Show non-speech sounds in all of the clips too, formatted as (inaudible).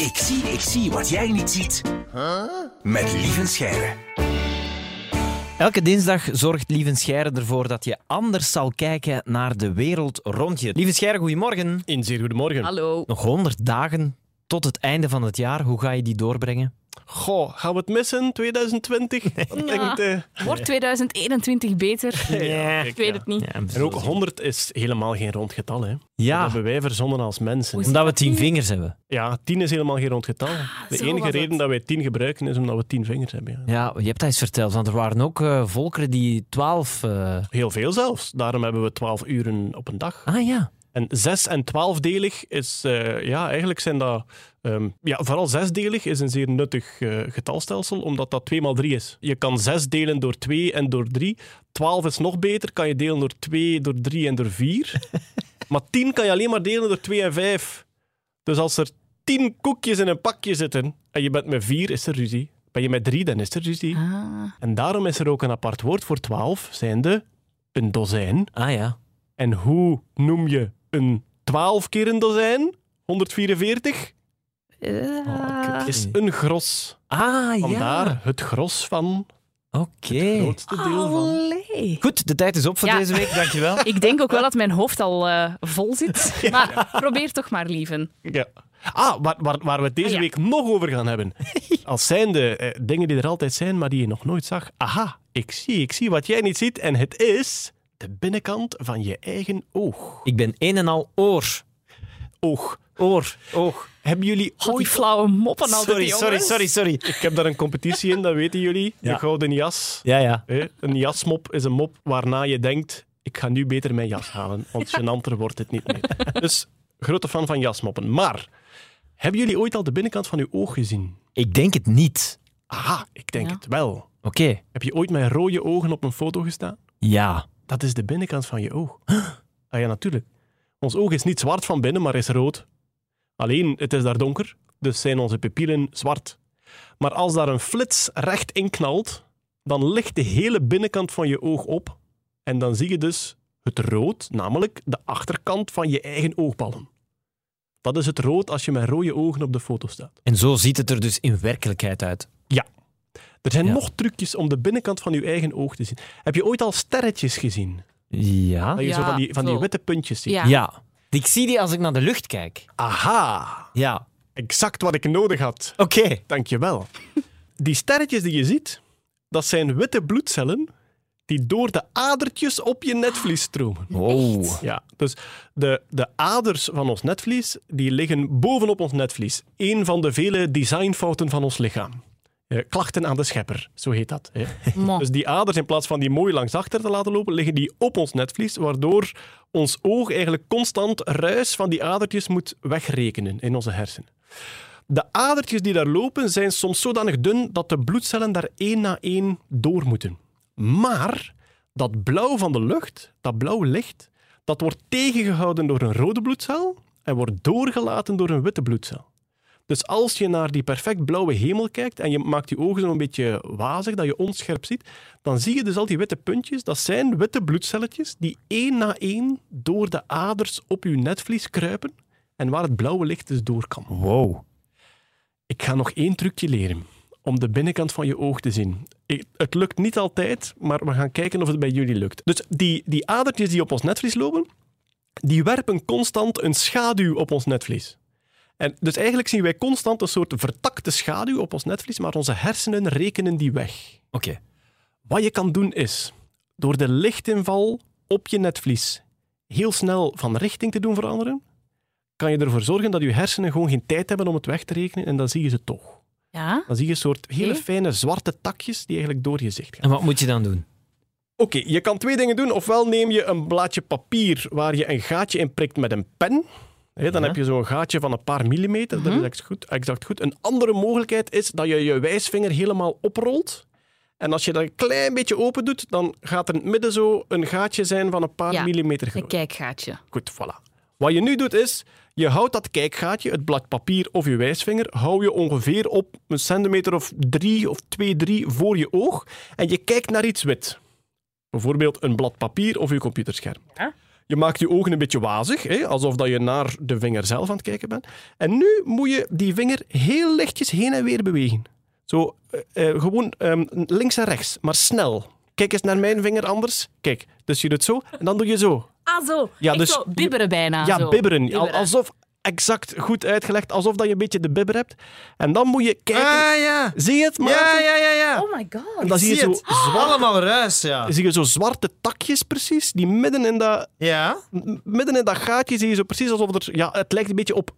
Ik zie, ik zie wat jij niet ziet. Met Lieven Scheire. Elke dinsdag zorgt Lieven Scheire ervoor dat je anders zal kijken naar de wereld rond je. Lieven Scheire, goedemorgen. In zeer (laughs) goedemorgen. Hallo. Nog 100 dagen tot het einde van het jaar. Hoe ga je die doorbrengen? Goh, gaan we het missen (laughs) 2020? Dat denkt, eh, Wordt 2021 beter? Ik weet het niet. Ja, En ook 100 is helemaal geen rond getal. Hè. Dat Ja, hebben wij verzonnen als mensen. Oei. omdat we tien vingers hebben. Ja, 10 is helemaal geen rond getal. De Ah, zo enige was het. reden dat wij 10 gebruiken is omdat we 10 vingers hebben. Ja. Ja, je hebt dat eens verteld, want er waren ook eh, volkeren die 12. eh, Heel veel zelfs. Daarom hebben we 12 uren op een dag. Ah ja. En 6 en 12-delig is, eh, ja, eigenlijk zijn dat. ehm, ja, vooral zesdelig is een zeer nuttig eh, getalstelsel, omdat dat 2 x 3 is. Je kan 6 delen door 2 en door 3. 12 is nog beter, kan je delen door 2, door 3 en door 4. maar 10 kan je alleen maar delen door 2 en 5. Dus als er 10 koekjes in een pakje zitten en je bent met 4, is er ruzie. Ben je met 3, dan is er ruzie. Ah. En daarom is er ook een apart woord voor 12, zijnde een dozijn. Ah ja. En hoe noem je een 12 keer een dozijn? 144 Ah. kut. is een gros. Ah ja. Vandaar het gros van Oké. het grootste deel van. Allee. Goed, de tijd is op voor Ja. deze week. Dankjewel. Ik denk ook wel dat mijn hoofd al eh, vol zit. Maar probeer toch maar, lieven. Ja. Ah, waar, waar, waar we het deze Ah, ja. week nog over gaan (laughs) hebben. Als zijnde eh, dingen die er altijd zijn, maar die je nog nooit zag. Aha, ik zie, ik zie wat jij niet ziet. En het is de binnenkant van je eigen oog. Ik ben een en al oor. Oog. Oor. Oog. Hebben jullie God, die ooit... flauwe moppen altijd, Sorry, jongens. sorry, sorry, sorry. Ik heb daar een competitie in, dat weten jullie. Ja. De gouden jas. Ja, ja. Hè, Een jasmop is een mop waarna je denkt: ik ga nu beter mijn jas halen, want gênanter wordt het niet meer. Dus grote fan van jasmoppen. Maar hebben jullie ooit al de binnenkant van uw oog gezien? Ik denk het niet. Aha, ik denk Ja. het wel. Oké. Heb je ooit met rode ogen op een foto gestaan? Ja. Dat is de binnenkant van je oog. (gasps) Ah ja, natuurlijk. Ons oog is niet zwart van binnen, maar is rood. Alleen, het is daar donker, dus zijn onze pupillen zwart. Maar als daar een flits recht in knalt, dan ligt de hele binnenkant van je oog op. En dan zie je dus het rood, namelijk de achterkant van je eigen oogballen. Dat is het rood als je met rode ogen op de foto staat. En zo ziet het er dus in werkelijkheid uit. Er zijn Ja. nog trucjes om de binnenkant van je eigen oog te zien. Heb je ooit al sterretjes gezien? Ja. Dat je Ja, zo van die, van die zo. witte puntjes ziet. Ja. Ja. Ik zie die als ik naar de lucht kijk. Aha! Ja. Exact wat ik nodig had. Oké. Dankjewel. Die sterretjes die je ziet, dat zijn witte bloedcellen die door de adertjes op je netvlies stromen. Wow. Ja, dus de, de aders van ons netvlies, die liggen bovenop ons netvlies. Eén van de vele designfouten van ons lichaam. Eh, klachten aan de schepper, zo heet dat. Hè. Mo. Dus die aders, in plaats van die mooi langs achter te laten lopen, liggen die op ons netvlies, waardoor ons oog eigenlijk constant ruis van die adertjes moet wegrekenen in onze hersenen. De adertjes die daar lopen zijn soms zodanig dun dat de bloedcellen daar één na één door moeten. Maar dat blauw van de lucht, dat blauwe licht, dat wordt tegengehouden door een rode bloedcel en wordt doorgelaten door een witte bloedcel. Dus als je naar die perfect blauwe hemel kijkt en je maakt je ogen zo'n beetje wazig, dat je onscherp ziet, dan zie je dus al die witte puntjes. Dat zijn witte bloedcelletjes die één na één door de aders op je netvlies kruipen en waar het blauwe licht dus door kan. Wow. Ik ga nog één trucje leren om de binnenkant van je oog te zien. Ik- het lukt niet altijd, maar we gaan kijken of het bij jullie lukt. Dus die, die adertjes die op ons netvlies lopen, die werpen constant een schaduw op ons netvlies. En dus eigenlijk zien wij constant een soort vertakte schaduw op ons netvlies, maar onze hersenen rekenen die weg. Oké. Wat je kan doen is, door de lichtinval op je netvlies heel snel van richting te doen veranderen, kan je ervoor zorgen dat je hersenen gewoon geen tijd hebben om het weg te rekenen en dan zie je ze toch. Ja? Dan zie je een soort hele Oké. fijne zwarte takjes die eigenlijk door je zicht gaan. En wat moet je dan doen? Oké, je kan twee dingen doen. Ofwel neem je een blaadje papier waar je een gaatje in prikt met een pen. Hè, dan Ja. heb je zo'n gaatje van een paar millimeter. Dat is exact goed, exact goed. Een andere mogelijkheid is dat je je wijsvinger helemaal oprolt. En als je dat een klein beetje open doet, dan gaat er in het midden zo een gaatje zijn van een paar Ja. millimeter Een groot. kijkgaatje. Goed, voilà. Wat je nu doet is, je houdt dat kijkgaatje, het blad papier of je wijsvinger, hou je ongeveer op een centimeter of drie of twee, drie voor je oog en je kijkt naar iets wit. Bijvoorbeeld een blad papier of je computerscherm. Ja. Je maakt je ogen een beetje wazig, hè? alsof dat je naar de vinger zelf aan het kijken bent. En nu moet je die vinger heel lichtjes heen en weer bewegen. Zo, eh, eh, gewoon ehm, links en rechts, maar snel. Kijk eens naar mijn vinger anders. Kijk, dus je doet zo en dan doe je zo. Ah, zo. Ja, Echt dus- zo bibberen bijna. Ja, zo. bibberen. Al- Bibberen. Alsof, exact goed uitgelegd, alsof dat je een beetje de bibber hebt. En dan moet je kijken. Ah, ja. Zie je het, Maarten? ja, ja, ja. Oh my god. En dan zie je, zie zo het. Oh. Allemaal ruis, ja. (gasps) zie je zo zwarte takjes precies, die midden in dat, Ja. m- midden in dat gaatje zie je zo precies alsof er... Ja, het lijkt een beetje op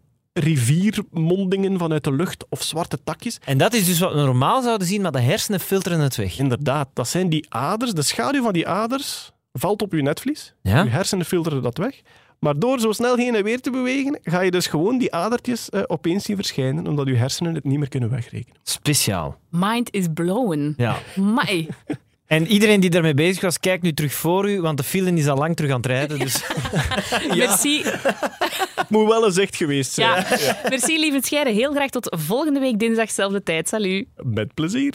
riviermondingen vanuit de lucht of zwarte takjes. En dat is dus wat we normaal zouden zien, maar de hersenen filteren het weg. Inderdaad, dat zijn die aders. De schaduw van die aders valt op je netvlies. Ja? Je hersenen filteren dat weg. Maar door zo snel heen en weer te bewegen, ga je dus gewoon die adertjes eh, opeens zien verschijnen, omdat je hersenen het niet meer kunnen wegrekenen. Speciaal. Mind is blown. Ja. Mai. En iedereen die daarmee bezig was, kijk nu terug voor u, want de file is al lang terug aan het rijden. Dus Merci. Het moet wel eens echt geweest zijn. Ja. Merci, lieve Scheire. Heel graag tot volgende week dinsdag, zelfde tijd. Salut. Met plezier.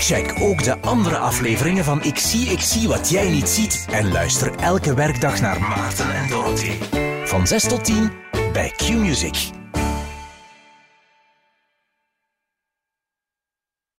Check ook de andere afleveringen van Ik zie, ik zie wat jij niet ziet. En luister elke werkdag naar Maarten en Dorothy. Van 6 tot 10 bij Q-Music.